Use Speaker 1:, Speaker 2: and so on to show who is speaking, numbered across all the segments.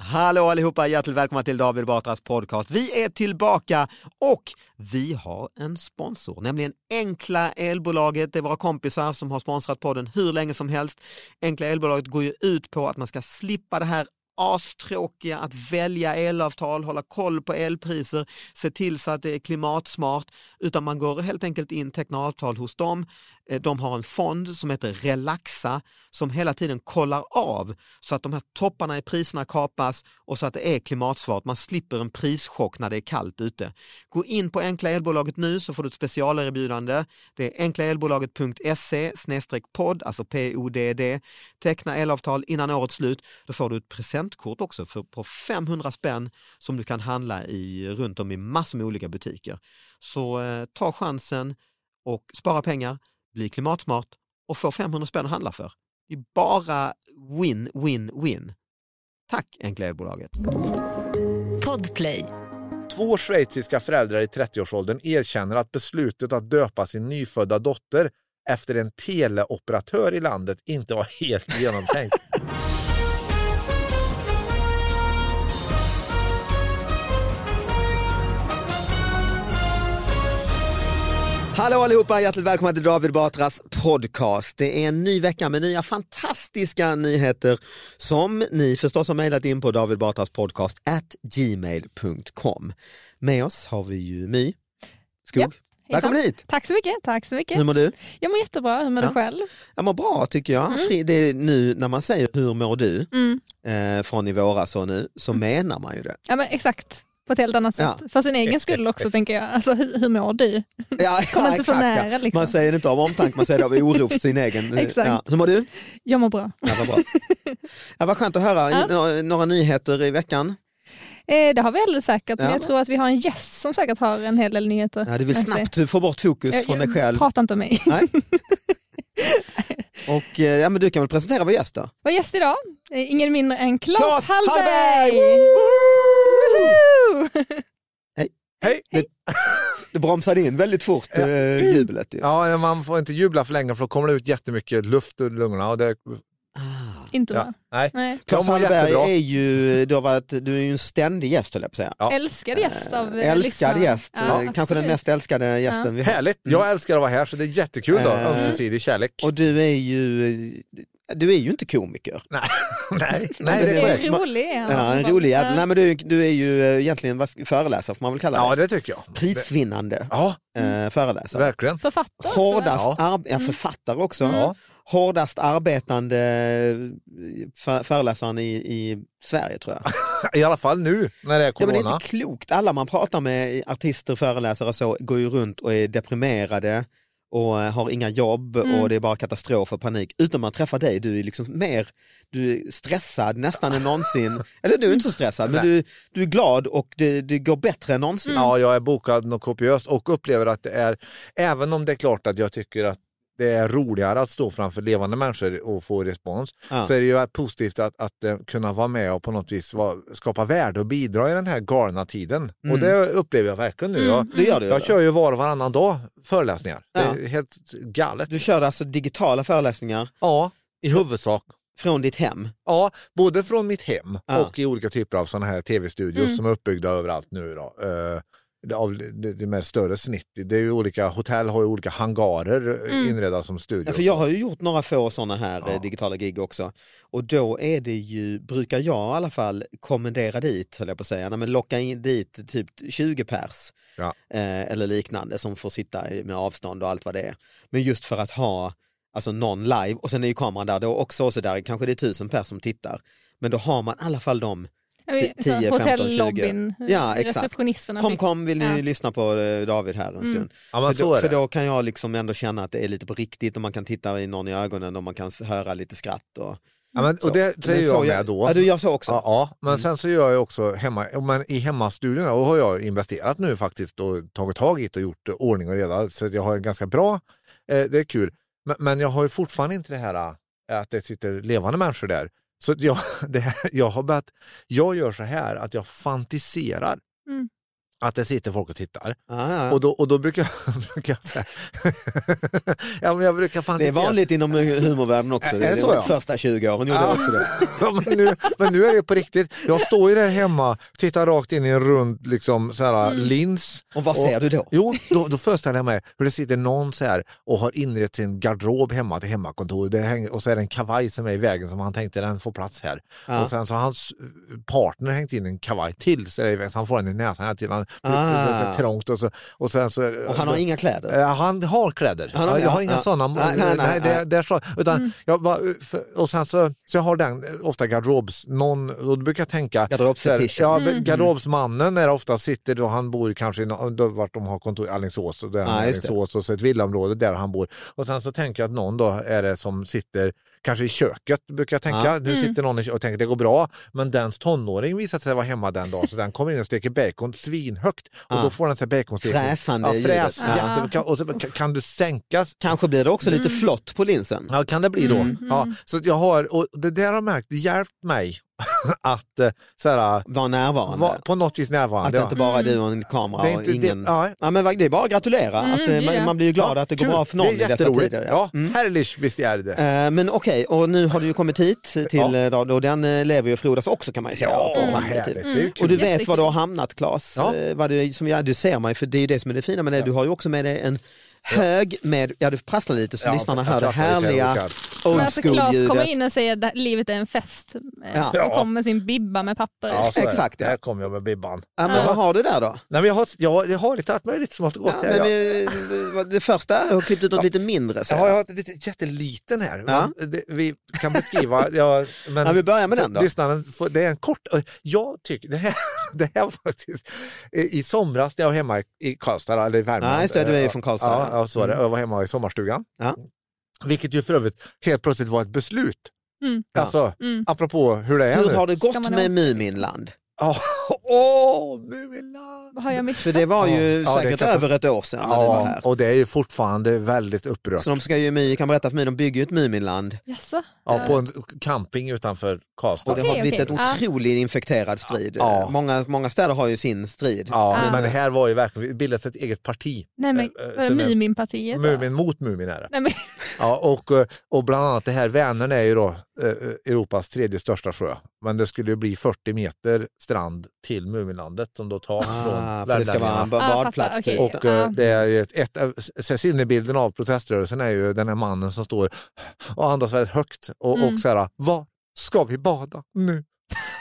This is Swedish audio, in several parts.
Speaker 1: Hallå allihopa, hjärtligt välkomna till David Batras podcast. Vi är tillbaka och vi har en sponsor, nämligen Enkla Elbolaget. Det är våra kompisar som har sponsrat podden hur länge som helst. Enkla Elbolaget går ju ut på att man ska slippa det här astråkiga att välja elavtal, hålla koll på elpriser, se till så att det är klimatsmart, utan man går helt enkelt in, tecknar avtal hos dem. Eh, De har en fond som heter Relaxa som hela tiden kollar av så att de här topparna i priserna kapas och så att det är klimatsmart. Man slipper en prischock när det är kallt ute. Gå in på Enkla Elbolaget nu så får du ett specialerbjudande. Det är enklaelbolaget.se podd, alltså PODD. Teckna elavtal innan årets slut. Då får du ett presentkort också för, på 500 spänn som du kan handla i runt om i massor med olika butiker. Så eh, ta chansen och spara pengar, bli klimatsmart och få 500 spänn att handla för. Det är bara win, win, win. Tack Enkla Elbolaget.
Speaker 2: Podplay.
Speaker 3: Två schweiziska föräldrar i 30-årsåldern erkänner att beslutet att döpa sin nyfödda dotter efter en teleoperatör i landet inte var helt genomtänkt.
Speaker 1: Hallå allihopa, hjärtligt välkomna till David Batras podcast. Det är en ny vecka med nya fantastiska nyheter som ni förstås har mejlat in på David Batras podcast at gmail.com. Med oss har vi ju My Skog.
Speaker 4: Japp,
Speaker 1: Välkommen hit!
Speaker 4: Tack så mycket, tack så mycket.
Speaker 1: Hur mår du?
Speaker 4: Jag mår jättebra, hur mår
Speaker 1: Ja.
Speaker 4: du själv?
Speaker 1: Jag mår bra tycker jag. Fri, det är nu när man säger hur mår du
Speaker 4: Mm.
Speaker 1: eh, från i våras och nu så menar man ju det.
Speaker 4: Ja men exakt, på ett helt annat sätt. För sin egen skull också tänker jag, alltså hur, hur mår du?
Speaker 1: Ja,
Speaker 4: Kom
Speaker 1: ja,
Speaker 4: inte för
Speaker 1: exakt,
Speaker 4: nära,
Speaker 1: ja.
Speaker 4: liksom.
Speaker 1: Man säger det inte av omtanke, man säger det av oro för sin egen.
Speaker 4: Exakt.
Speaker 1: Ja. Hur mår du?
Speaker 4: Jag mår bra.
Speaker 1: Ja, vad bra. Ja, vad skönt att höra.
Speaker 4: Ja.
Speaker 1: Nå- Några nyheter i veckan.
Speaker 4: Eh, det har vi alldeles säkert,
Speaker 1: Ja.
Speaker 4: men jag tror att vi har en gäst som säkert har en hel del nyheter.
Speaker 1: Ja, du vill
Speaker 4: Jag ser.
Speaker 1: snabbt få bort fokus
Speaker 4: Eh,
Speaker 1: från dig själv.
Speaker 4: Prata inte om mig.
Speaker 1: Nej. Och, eh, ja, men du kan väl presentera vår gäst då?
Speaker 4: Vår gäst idag är ingen mindre än Claes,
Speaker 1: Claes Hallberg!
Speaker 4: Hallberg! Woho!
Speaker 3: Hej!
Speaker 1: Du bromsade in väldigt fort eh, jublet. Ju.
Speaker 3: Mm. Ja, man får inte jubla för länge för då kommer det ut jättemycket luft ur lungorna. Och det,
Speaker 4: inte
Speaker 3: Ja.
Speaker 4: bra.
Speaker 3: nej.
Speaker 4: Nej.
Speaker 3: Jag
Speaker 1: Claes
Speaker 3: mår
Speaker 1: Hallberg
Speaker 3: jättebra.
Speaker 1: är ju, eh, du har varit, du är ju en ständig gäst höll jag på att säga.
Speaker 3: Ja.
Speaker 4: Älskad gäst av eh,
Speaker 1: Älskad
Speaker 4: lyssnarna.
Speaker 1: gäst,
Speaker 4: Ja,
Speaker 1: eh, kanske
Speaker 4: absolut.
Speaker 1: den mest älskade gästen vi har.
Speaker 3: Härligt! Jag älskar att vara här så det är jättekul. Då.
Speaker 1: Eh.
Speaker 3: Ömsesidig kärlek.
Speaker 1: Och du är ju, du är ju inte komiker.
Speaker 3: nej,
Speaker 1: Nej,
Speaker 3: nej,
Speaker 1: det
Speaker 3: det
Speaker 1: är
Speaker 3: är
Speaker 1: korrekt.
Speaker 3: korrekt.
Speaker 4: Det är rolig är han.
Speaker 1: Ja, en rolig jävel.
Speaker 4: Ja.
Speaker 1: Nej, men du, du är ju eh, egentligen vad ska- föreläsare får man väl kalla
Speaker 3: Ja,
Speaker 1: det.
Speaker 3: det tycker jag. Det-
Speaker 1: Prisvinnande
Speaker 3: Ja,
Speaker 1: eh, föreläsare.
Speaker 3: verkligen.
Speaker 4: Författare Mm. också, Mm. va?
Speaker 1: Hårdast ar- ja, författare också.
Speaker 3: Ja.
Speaker 1: Hårdast arbetande eh, för- föreläsaren i, i Sverige tror jag.
Speaker 3: I alla fall nu när det är
Speaker 1: Ja, men det är
Speaker 3: corona.
Speaker 1: inte klokt. Alla man pratar med, artister, föreläsare och så, går ju runt och är deprimerade och eh, har inga jobb
Speaker 3: Mm.
Speaker 1: och det är bara katastrof och panik. Utom man träffar dig, du är liksom mer du är stressad nästan än någonsin. Eller du är inte så stressad, men du, du är glad och det, det går bättre än någonsin.
Speaker 3: Mm. Ja, jag är bokad något kopiöst och upplever att det är, även om det är klart att jag tycker att det är roligare att stå framför levande människor och få respons,
Speaker 1: Ja.
Speaker 3: så är det ju positivt att, att eh, kunna vara med och på något vis vara, skapa värde och bidra i den här galna tiden.
Speaker 1: Mm.
Speaker 3: Och det upplever jag verkligen nu. Jag,
Speaker 1: Det gör du.
Speaker 3: jag kör ju var och varannan dag föreläsningar.
Speaker 1: Ja.
Speaker 3: Det är helt galet.
Speaker 1: Du kör alltså digitala föreläsningar
Speaker 3: Ja, i huvudsak.
Speaker 1: från ditt hem.
Speaker 3: Ja, både från mitt hem
Speaker 1: Ja. Mm.
Speaker 3: och i olika typer av sådana här tv-studios som är uppbyggda överallt nu. Då. Eh, det- av det, det med större snitt. Det är ju olika, hotell har ju olika hangarer eh, inredda som studios.
Speaker 1: Mm. Ja, för jag har ju gjort några få sådana här eh, digitala gig också. Och då är det ju, brukar jag i alla fall kommendera dit, höll jag på att säga, Nej, men locka in dit typ 20 pers
Speaker 3: Ja.
Speaker 1: eh, eller liknande som får sitta i- med avstånd och allt vad det är. Men just för att ha alltså någon live och sen är ju kameran där då också och så där kanske det är tusen pers som tittar. Men då har man i alla fall de
Speaker 4: Ja, vi-
Speaker 1: 10,
Speaker 4: så
Speaker 1: 15, 20.
Speaker 4: Hotellobbyn,
Speaker 1: Ja, exakt.
Speaker 4: eh, receptionisterna.
Speaker 1: Kom
Speaker 4: fick-
Speaker 1: kom, vill ni
Speaker 4: Ja. Mm.
Speaker 1: lyssna på eh, David här en stund?
Speaker 3: Ja, men
Speaker 1: för,
Speaker 3: så
Speaker 1: då,
Speaker 3: är
Speaker 1: för
Speaker 3: det.
Speaker 1: då kan jag liksom ändå känna att det är lite på riktigt och man kan titta i någon i ögonen och man kan s- höra lite skratt. Och,
Speaker 3: ja, men, och det
Speaker 1: Men
Speaker 3: säger
Speaker 1: så
Speaker 3: jag med då.
Speaker 1: Ja, du gör så också.
Speaker 3: Ja, ja, men
Speaker 1: Mm.
Speaker 3: sen så gör jag också hemma, ja, men i hemmastudion då har jag investerat nu faktiskt och tagit tag i det och gjort eh, ordning och reda så att jag har en ganska bra, eh, det är kul. Men, men jag har ju fortfarande inte det här eh, att det sitter levande människor där. Så att jag, det här, jag har börjat, jag gör så här att jag fantiserar.
Speaker 4: Mm.
Speaker 3: Att det sitter folk och tittar.
Speaker 1: Ja, ja, ja.
Speaker 3: Och, då, och då brukar jag... brukar jag, så här, ja, men jag brukar fan
Speaker 1: det är
Speaker 3: inte göra-
Speaker 1: vanligt inom humorvärlden också.
Speaker 3: Är det så, ja?
Speaker 1: Första 20 åren gjorde
Speaker 3: Ja.
Speaker 1: det också det.
Speaker 3: Ja, men, nu, men nu är det på riktigt. Jag står ju där hemma, tittar rakt in i en rund liksom, så här, lins.
Speaker 1: Mm. Och vad säger du då?
Speaker 3: Jo, då, då föreställer jag mig hur det sitter någon så här och har inrett sin garderob hemma till hemmakontor. Det hänger, och så är det en kavaj som är i vägen som han tänkte den får plats här.
Speaker 1: Ja.
Speaker 3: Och sen så har hans eh, partner hängt in en kavaj till så, det är i vägen, så han får den i näsan hela tiden. Han,
Speaker 1: Ah.
Speaker 3: Det är så trångt och, så, och sen så...
Speaker 1: Och han har inga kläder.
Speaker 3: Eh, Han har kläder.
Speaker 1: Han har-
Speaker 3: jag har
Speaker 1: ja,
Speaker 3: inga
Speaker 1: ja.
Speaker 3: sådana.
Speaker 1: Nej,
Speaker 3: Nej,
Speaker 1: nej,
Speaker 3: nej,
Speaker 1: nej,
Speaker 3: det,
Speaker 1: nej.
Speaker 3: det är så. Utan jag bara, för- och sen så, så jag har den eh, ofta garderobs... Någon, och då brukar jag tänka...
Speaker 1: Garderobsfetischen.
Speaker 3: så här, Ja, men Garderobsmannen är ofta sitter då han bor kanske i nå- då vart de har kontor, i Alingsås, och där han
Speaker 1: Ja,
Speaker 3: är i
Speaker 1: just det.
Speaker 3: Alingsås och så ett villaområde där han bor. Och sen så tänker jag att någon då är det som sitter kanske i köket brukar jag tänka. Nu sitter någon i kö- och tänker det går bra, men dens tonåring visade sig vara hemma den dagen så den kommer in och steker bacon svinhögt och
Speaker 1: Ja.
Speaker 3: då får den sig baconstek.
Speaker 1: Fräsande
Speaker 3: Typ. ja,
Speaker 1: ljudet.
Speaker 3: fräs,
Speaker 1: Ja.
Speaker 3: jätte- kan, och så, kan, kan du sänkas?
Speaker 1: Kanske blir det också lite
Speaker 3: Mm.
Speaker 1: flott på linsen.
Speaker 3: Ja, kan det bli då.
Speaker 1: Mm,
Speaker 3: Ja, så att jag har, och det där har jag märkt, det hjälpt mig att eh, så här,
Speaker 1: Var närvarande.
Speaker 3: vara på något vis
Speaker 1: att
Speaker 3: närvarande.
Speaker 1: det
Speaker 3: ja.
Speaker 1: inte bara är du och en kamera
Speaker 3: Det är
Speaker 1: och
Speaker 3: inte- det-
Speaker 1: ingen...
Speaker 3: ja.
Speaker 1: Ja, men det är bara att gratulera.
Speaker 4: Mm,
Speaker 1: att,
Speaker 4: det
Speaker 1: eh,
Speaker 4: är
Speaker 1: man,
Speaker 4: det.
Speaker 1: man blir ju glad
Speaker 3: Ja,
Speaker 1: att det går
Speaker 3: kul.
Speaker 1: bra för någon
Speaker 3: Det
Speaker 1: i
Speaker 3: är
Speaker 1: dessa
Speaker 3: jätteroligt.
Speaker 1: tider. Mm.
Speaker 3: Ja, Härligt visst är det.
Speaker 1: Eh, Men okej, och nu har du ju kommit hit till eh, radio och den eh, lever ju och frodas också kan man ju säga.
Speaker 3: Ja,
Speaker 1: på
Speaker 3: vad
Speaker 1: Brandby
Speaker 3: härligt.
Speaker 1: typ.
Speaker 3: Det är ju kul.
Speaker 1: Och du vet
Speaker 4: Jättekul.
Speaker 1: var du har hamnat Claes.
Speaker 3: Ja.
Speaker 1: Eh, Vad du, är- som jag, du ser mig, för det är ju det som är det fina med det. Du har ju också med dig en hög med, ja du prasslar lite så
Speaker 3: Ja,
Speaker 1: lyssnarna
Speaker 3: jag
Speaker 1: hör det
Speaker 3: prasslar lite här,
Speaker 1: härliga
Speaker 3: Rickard.
Speaker 1: old
Speaker 4: Alltså Claes kommer
Speaker 1: school-ljudet.
Speaker 4: in och säger att livet är en fest.
Speaker 1: Ja.
Speaker 4: Ja. Han kommer med sin bibba med papper.
Speaker 3: Ja, så är det.
Speaker 1: exakt, ja.
Speaker 3: Där kom jag med Bibban.
Speaker 1: Ja, men vad har du där då?
Speaker 3: Nej, men jag, har, jag, har- jag har lite allt möjligt som har gått
Speaker 1: Ja,
Speaker 3: här.
Speaker 1: men
Speaker 3: ja.
Speaker 1: vi, vad- det första, jag har klippt ut något lite mindre. Så.
Speaker 3: Ja, jag har ett litet- jätteliten här.
Speaker 1: Ja.
Speaker 3: Men det, vi kan beskriva... Ja, men
Speaker 1: Ja, vi börjar med
Speaker 3: för
Speaker 1: den då.
Speaker 3: Lyssnaren, får- det är en kort... Jag tycker det här, det här var faktiskt... I somras när jag var hemma i Karlstad, eller i Värmland.
Speaker 1: Ja, just det, du är ju från Karlstad,
Speaker 3: Ja,
Speaker 1: ja. Mm.
Speaker 3: ja så är det. Jag var hemma i sommarstugan.
Speaker 1: Ja.
Speaker 3: Vilket ju för övrigt helt plötsligt var ett beslut.
Speaker 4: Mm.
Speaker 3: Alltså,
Speaker 4: Mm.
Speaker 3: apropå hur det är
Speaker 1: Hur
Speaker 3: nu.
Speaker 1: har det
Speaker 4: Ska
Speaker 1: gått
Speaker 4: man
Speaker 1: med
Speaker 4: åka?
Speaker 1: Muminland?
Speaker 3: Åh, oh, Mumiland!
Speaker 4: Vad har jag
Speaker 1: För
Speaker 4: missat?
Speaker 1: det var ju
Speaker 3: Ja,
Speaker 1: säkert
Speaker 3: det kan jag ta-
Speaker 1: över ett år sedan när du var
Speaker 3: Ja,
Speaker 1: här.
Speaker 3: och det är ju fortfarande väldigt upprört.
Speaker 1: Så de ska ju, My- kan berätta för mig, de bygger ju ett Muminland
Speaker 4: Jaså?
Speaker 3: Ja, på en camping utanför Karlstad.
Speaker 1: och det har
Speaker 4: Okej,
Speaker 1: blivit
Speaker 4: okej.
Speaker 1: en otroligt infekterad strid.
Speaker 3: Ja.
Speaker 1: Många, många städer har ju sin strid.
Speaker 3: Ja,
Speaker 4: Ah.
Speaker 3: men det här var ju verkligen, vi bildade ett eget parti.
Speaker 4: Nej men
Speaker 3: Eh, eh,
Speaker 4: äh,
Speaker 3: så det-
Speaker 4: Muminpartiet. va?
Speaker 3: Mumin mot Mumin är det.
Speaker 4: Nej, men,
Speaker 3: Ja, och, eh, och bland annat det här, Vänern är ju då eh, Europas tredje största sjö. Men det skulle ju bli 40 meter strand till Muminlandet som då tas
Speaker 1: Ah,
Speaker 3: från
Speaker 1: för det ska vara en
Speaker 3: värmlänningarna.
Speaker 1: ba-
Speaker 4: Ah,
Speaker 1: badplats
Speaker 4: fattar,
Speaker 1: typ.
Speaker 4: okej.
Speaker 3: Och eh, det är ju ett, ett, av- så här, sinnebilden av proteströrelsen är ju den här mannen som står och andas väldigt högt och, och så här, vad ska vi bada nu?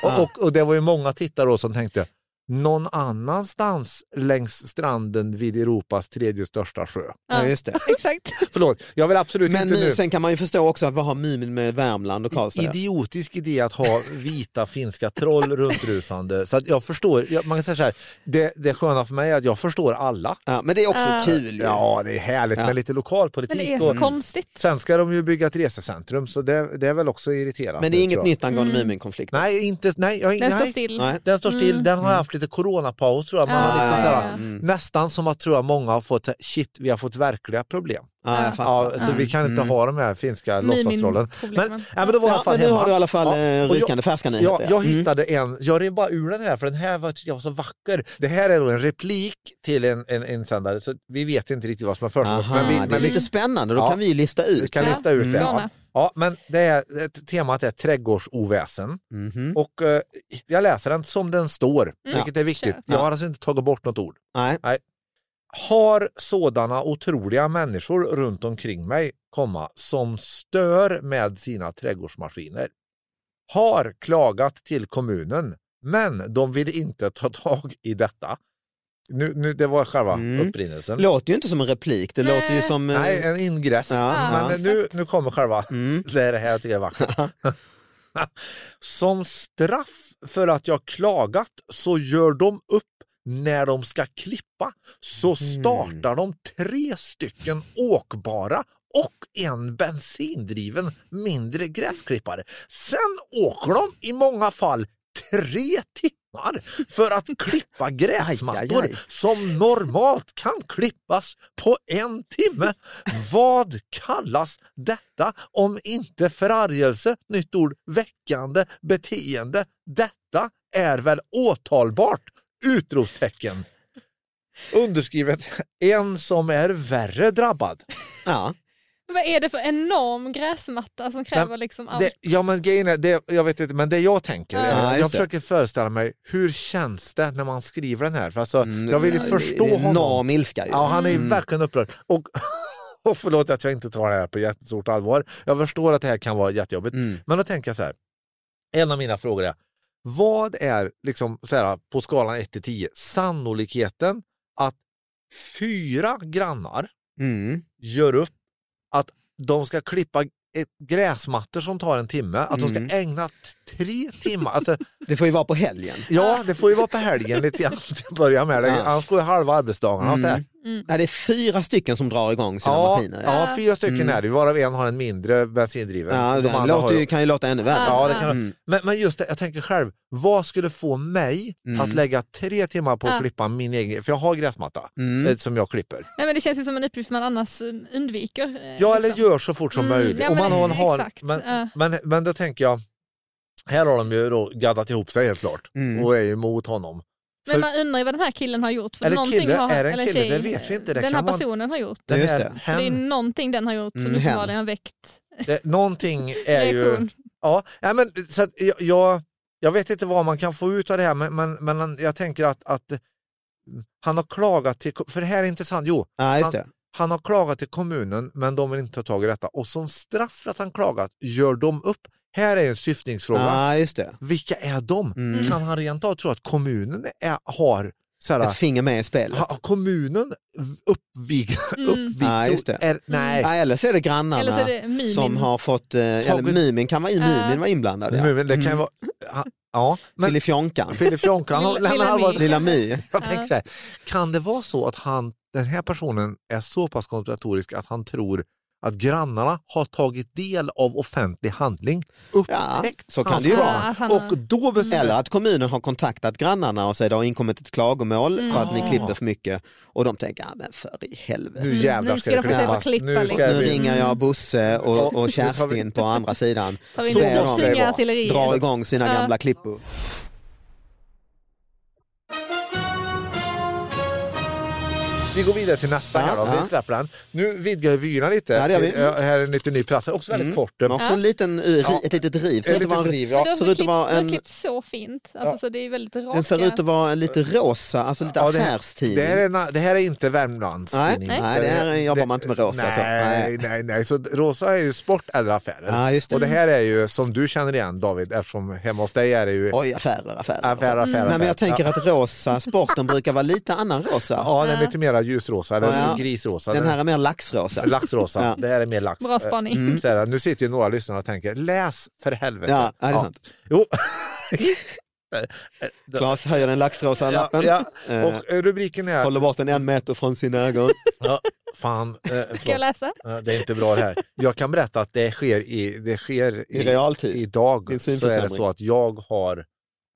Speaker 1: Ah.
Speaker 3: Och, och, och det var ju många tittare då som tänkte, någon annanstans längs stranden vid Europas tredje största sjö.
Speaker 1: Ja, just det.
Speaker 4: exakt.
Speaker 3: Förlåt, jag vill absolut
Speaker 1: Men
Speaker 3: inte
Speaker 1: nu,
Speaker 3: nu.
Speaker 1: sen kan man ju förstå också att vad har Mumin med Värmland och Karlstad?
Speaker 3: Idiotisk idé att ha vita finska troll runtrusande. Så att jag förstår, jag, man kan säga så här, det, det sköna för mig är att jag förstår alla.
Speaker 1: Ja, men det är också
Speaker 4: Ah.
Speaker 1: kul ju.
Speaker 3: Ja, det är härligt
Speaker 1: Ja.
Speaker 3: med lite
Speaker 4: Men
Speaker 3: lokalpolitik.
Speaker 4: det är så
Speaker 3: och,
Speaker 4: konstigt.
Speaker 3: sen ska de ju bygga ett resecentrum så det, det är väl också irriterande.
Speaker 1: Men det är inget
Speaker 3: tror jag.
Speaker 1: nytt angående
Speaker 4: Mm.
Speaker 1: Muminkonflikten.
Speaker 3: Nej, inte, nej, jag,
Speaker 4: Den
Speaker 3: nej.
Speaker 4: står still.
Speaker 1: Nej.
Speaker 3: Den står still, den har haft lite coronapaus tror jag. Man har
Speaker 4: Mm. Ah,
Speaker 3: liksom
Speaker 4: ja,
Speaker 3: så här,
Speaker 1: Mm.
Speaker 4: ja, ja.
Speaker 3: Nästan som att tror jag många har fått, så här, shit vi har fått verkliga problem.
Speaker 1: Ja, jag fattar. Mm.
Speaker 3: Ja, så vi kan inte ha de här finska
Speaker 4: Mimin-
Speaker 3: låtsastrollen. Men,
Speaker 4: problemen.
Speaker 3: ja, men då var jag i alla
Speaker 1: Ja,
Speaker 3: fall
Speaker 1: men nu
Speaker 3: hemma.
Speaker 1: har du i alla fall
Speaker 3: Ja,
Speaker 1: eh,
Speaker 3: och jag-
Speaker 1: rykande färska
Speaker 3: Ja,
Speaker 1: nyheter.
Speaker 3: jag hittade en, jag rev bara ur den här för den här var, tyckte jag var så vacker. Det här är då en replik till en, en insändare så vi vet inte riktigt vad som har försiggått.
Speaker 1: Aha,
Speaker 3: Men vi,
Speaker 1: det är
Speaker 3: men vi
Speaker 1: lite spännande, då
Speaker 3: Ja.
Speaker 1: kan vi ju lista
Speaker 3: vi
Speaker 1: ut.
Speaker 3: kan
Speaker 4: Ja.
Speaker 3: lista ur sen. Ja.
Speaker 4: Gärna.
Speaker 3: Ja, men det är, ett- temat är trädgårdsoväsen
Speaker 1: Mhm.
Speaker 3: och eh, jag läser den som den står, vilket är viktigt.
Speaker 4: Kör.
Speaker 3: Jag har alltså inte tagit bort något ord.
Speaker 1: Mm. Nej.
Speaker 3: Har sådana otroliga människor runt omkring mig, komma, som stör med sina trädgårdsmaskiner. Har klagat till kommunen, men de vill inte ta tag i detta. Nu, nu, det var själva
Speaker 1: Mm.
Speaker 3: upprinnelsen.
Speaker 1: låter ju inte som en replik, det låter ju som... eh,
Speaker 3: Mhm. Nej, en ingress.
Speaker 1: Ja,
Speaker 3: men
Speaker 4: ja.
Speaker 3: nu, nu kommer själva.
Speaker 1: Mm.
Speaker 3: Det är det här jag tycker är vackert. Som straff för att jag klagat så gör de upp när de ska klippa så startar de tre stycken åkbara och en bensindriven mindre gräsklippare. Sen åker de i många fall tre timmar för att klippa
Speaker 1: Aj, aj, aj.
Speaker 3: gräsmattor som normalt kan klippas på en timme. Vad kallas detta om inte förargelse, nytt ord, väckande beteende? Detta är väl åtalbart? Utropstecken. Underskrivet, en som är värre drabbad.
Speaker 1: Ja.
Speaker 4: Vad är det för enorm gräsmatta som kräver liksom allt?
Speaker 3: Det, ja men grejen är, det, jag vet inte, men det jag tänker,
Speaker 1: Ja,
Speaker 3: är,
Speaker 1: just
Speaker 3: jag
Speaker 1: det.
Speaker 3: försöker föreställa mig hur känns det när man skriver den här? För alltså, jag vill ju
Speaker 1: Mm, Ja, det-
Speaker 3: förstå
Speaker 1: det är
Speaker 3: honom.
Speaker 1: Enorm ilska. ju. Mm.
Speaker 3: Ja, han är ju verkligen upprörd. Och, och förlåt att jag inte tar det här på jättestort allvar. Jag förstår att det här kan vara jättejobbigt.
Speaker 1: Mm.
Speaker 3: Men då tänker jag så här, en av mina frågor är, vad är liksom så här, på skalan 1 till 10 sannolikheten att fyra grannar
Speaker 1: Mm.
Speaker 3: gör upp att de ska klippa ett gräsmattor som tar en timme, att de
Speaker 1: Mm.
Speaker 3: ska ägna t- tre timmar. Alltså,
Speaker 1: Det får ju vara på helgen.
Speaker 3: ja, det får ju vara på helgen lite grann till att börja med. Det-
Speaker 1: Ja.
Speaker 3: Annars går ju halva arbetsdagarna åt det här.
Speaker 1: Nej, det är fyra stycken som drar igång sina
Speaker 3: Ja,
Speaker 1: maskiner.
Speaker 3: ja, fyra stycken
Speaker 1: Mm.
Speaker 3: är det, varav en har en mindre bensindriven.
Speaker 1: Ja,
Speaker 3: De
Speaker 1: det
Speaker 3: andra har
Speaker 1: låter
Speaker 3: ju-
Speaker 1: ju, kan ju låta ännu värre.
Speaker 3: Ja, det kan...
Speaker 1: Mm.
Speaker 3: men, men just det, jag tänker själv, vad skulle få mig
Speaker 1: Mm.
Speaker 3: att lägga tre timmar på att
Speaker 4: Ja.
Speaker 3: klippa min egen, för jag har gräsmatta
Speaker 1: Mm.
Speaker 3: eh, som jag klipper.
Speaker 4: Nej, men det känns ju som en uppgift man annars eh, undviker. eh,
Speaker 3: Ja, eller
Speaker 4: liksom.
Speaker 3: gör så fort som
Speaker 4: Mm,
Speaker 3: möjligt.
Speaker 4: ja,
Speaker 3: och man
Speaker 4: men
Speaker 3: har, har,
Speaker 4: exakt,
Speaker 3: men,
Speaker 4: ja.
Speaker 3: men, men då tänker jag, här har de ju då gaddat ihop sig helt klart
Speaker 1: Mm.
Speaker 3: och är ju emot honom. för-
Speaker 4: Men man undrar ju vad den här killen har gjort. För
Speaker 3: Eller
Speaker 4: någonting
Speaker 3: kille,
Speaker 4: har,
Speaker 3: är det en
Speaker 4: eller
Speaker 3: kille? Det vet vi inte, det
Speaker 4: den
Speaker 3: kan
Speaker 4: här
Speaker 3: man-
Speaker 4: personen har gjort.
Speaker 3: Den
Speaker 1: Just
Speaker 3: här,
Speaker 1: det.
Speaker 4: Det är ju
Speaker 3: hen,
Speaker 4: någonting den har gjort som
Speaker 1: Mm, hen.
Speaker 4: uppenbarligen har väckt
Speaker 3: det, någonting är ju...
Speaker 4: reaktion. Mm.
Speaker 3: Ja, nej, men, så att, jag- jag, jag vet inte vad man kan få ut av det här men, men, men jag tänker att, att han har klagat till... För det här är intressant. Jo,
Speaker 1: Ja, just
Speaker 3: Han-
Speaker 1: det.
Speaker 3: Han har klagat till kommunen men de vill inte ta tag i detta och som straff för att han klagat gör de upp. Här är en syftningsfråga.
Speaker 1: Ja, just det.
Speaker 3: Vilka är de?
Speaker 1: Mm.
Speaker 3: Kan han rent av tro att kommunen är, har så här,
Speaker 1: Ett finger med i spelet.
Speaker 3: ha, kommunen uppvig,
Speaker 4: Mm.
Speaker 3: uppvig,
Speaker 1: Ja, just det.
Speaker 3: Är, nej.
Speaker 1: Ja, eller så är det grannarna
Speaker 4: Eller så är det Mumin.
Speaker 1: som har fått, eh, eller
Speaker 3: Tagit-
Speaker 1: Mumin kan vara, i-
Speaker 4: Ja.
Speaker 1: Mumin var inblandad. Ja.
Speaker 3: Men, men, det kan ju
Speaker 1: Mm.
Speaker 3: vara... Ja, ja men
Speaker 1: Filifjonkan,
Speaker 3: Filip Jonk, han, har-
Speaker 4: Lilla-
Speaker 3: han har
Speaker 4: lilla
Speaker 3: varit...
Speaker 1: Lilla My.
Speaker 3: Jag tänker så här, kan det vara så att han, den här personen är så pass konspiratorisk att han tror att grannarna har tagit del av offentlig handling,
Speaker 1: Ja,
Speaker 3: upptäckt
Speaker 1: så kan
Speaker 3: hans
Speaker 1: det ju
Speaker 3: plan
Speaker 1: vara.
Speaker 4: Ja, att han Mm. har-
Speaker 3: och då
Speaker 1: Eller
Speaker 3: bestämmer...
Speaker 1: att kommunen har kontaktat grannarna och säger det har inkommit ett klagomål för att
Speaker 4: Mm.
Speaker 1: ni
Speaker 3: Ah.
Speaker 1: klippte för mycket och de tänker, ja men för i helvete.
Speaker 3: Nu jävlar
Speaker 4: Nu
Speaker 3: ska
Speaker 4: ska
Speaker 3: det
Speaker 4: de få se
Speaker 3: klippas.
Speaker 4: vad klippa,
Speaker 3: Nu
Speaker 4: liksom.
Speaker 3: ska
Speaker 1: Nu
Speaker 3: vi-
Speaker 1: ringer jag Bosse och,
Speaker 3: Ja,
Speaker 1: och
Speaker 3: nu tar vi-
Speaker 1: Kerstin på andra sidan.
Speaker 4: Tar vi
Speaker 3: Så
Speaker 4: inte
Speaker 3: måste det
Speaker 4: tunga
Speaker 3: vara.
Speaker 4: artilleriet.
Speaker 1: drar igång sina
Speaker 4: Ja.
Speaker 1: gamla klippor.
Speaker 3: Vi går vidare till nästa här då,
Speaker 1: Ja.
Speaker 3: vi släpper den. Nu vidgar vi vyerna lite.
Speaker 1: Ja, det gör vi. Mm.
Speaker 3: Ja, Här är en lite ny prassel, också väldigt kort.
Speaker 1: Men också en liten, eh, ri-
Speaker 3: Ja.
Speaker 1: ett litet riv. Ser
Speaker 3: Ett
Speaker 1: ut att vara
Speaker 3: litet
Speaker 1: en,
Speaker 3: riv,
Speaker 4: Men
Speaker 3: ja.
Speaker 4: de har
Speaker 1: Ser ut att
Speaker 4: klippt-
Speaker 1: vara
Speaker 4: de har
Speaker 1: en-
Speaker 4: klippt så fint. Alltså,
Speaker 3: Ja.
Speaker 4: så det är väldigt raka.
Speaker 1: Den ser ut att vara en lite rosa, alltså lite
Speaker 3: Ja, det-
Speaker 1: affärstidning.
Speaker 3: Det här, är, na- det här är inte Värmlands
Speaker 1: Nej,
Speaker 3: tidning.
Speaker 1: nej, det här jobbar man inte med rosa.
Speaker 3: Nej,
Speaker 1: så. Nej.
Speaker 3: nej, nej. Så rosa är ju sport eller affärer.
Speaker 1: Ja, just det.
Speaker 3: Och det här är ju som du känner igen David, eftersom hemma hos dig är det ju
Speaker 1: Oj, affärer, affärer.
Speaker 3: affär, affär, affär.
Speaker 1: Nej, men jag tänker att rosa, sporten brukar vara lite annan rosa.
Speaker 3: Ja, den är lite mera ljusrosa, den
Speaker 1: Ja.
Speaker 3: är grisrosa.
Speaker 1: Den
Speaker 3: den-
Speaker 1: här är mer laxrosa.
Speaker 3: Laxrosa,
Speaker 1: Ja. Mm.
Speaker 3: det här är mer lax.
Speaker 4: Bra spaning.
Speaker 3: Eh, så här, nu sitter ju några lyssnare och tänker, läs för helvete.
Speaker 1: Ja, ja, det är sant.
Speaker 3: Jo.
Speaker 1: Klas höjer den laxrosa
Speaker 3: ja,
Speaker 1: lappen,
Speaker 3: ja.
Speaker 1: Eh,
Speaker 3: Och eh, rubriken är...
Speaker 1: håller bort den en meter från sina ögon.
Speaker 3: Ja, fan, eh, förlåt.
Speaker 4: Ska jag läsa?
Speaker 3: Ja, Det är inte bra det här. Jag kan berätta att det sker i, det sker
Speaker 1: I realtid.
Speaker 3: Idag
Speaker 1: Det är en
Speaker 3: så är det
Speaker 1: synförsämring.
Speaker 3: så att jag har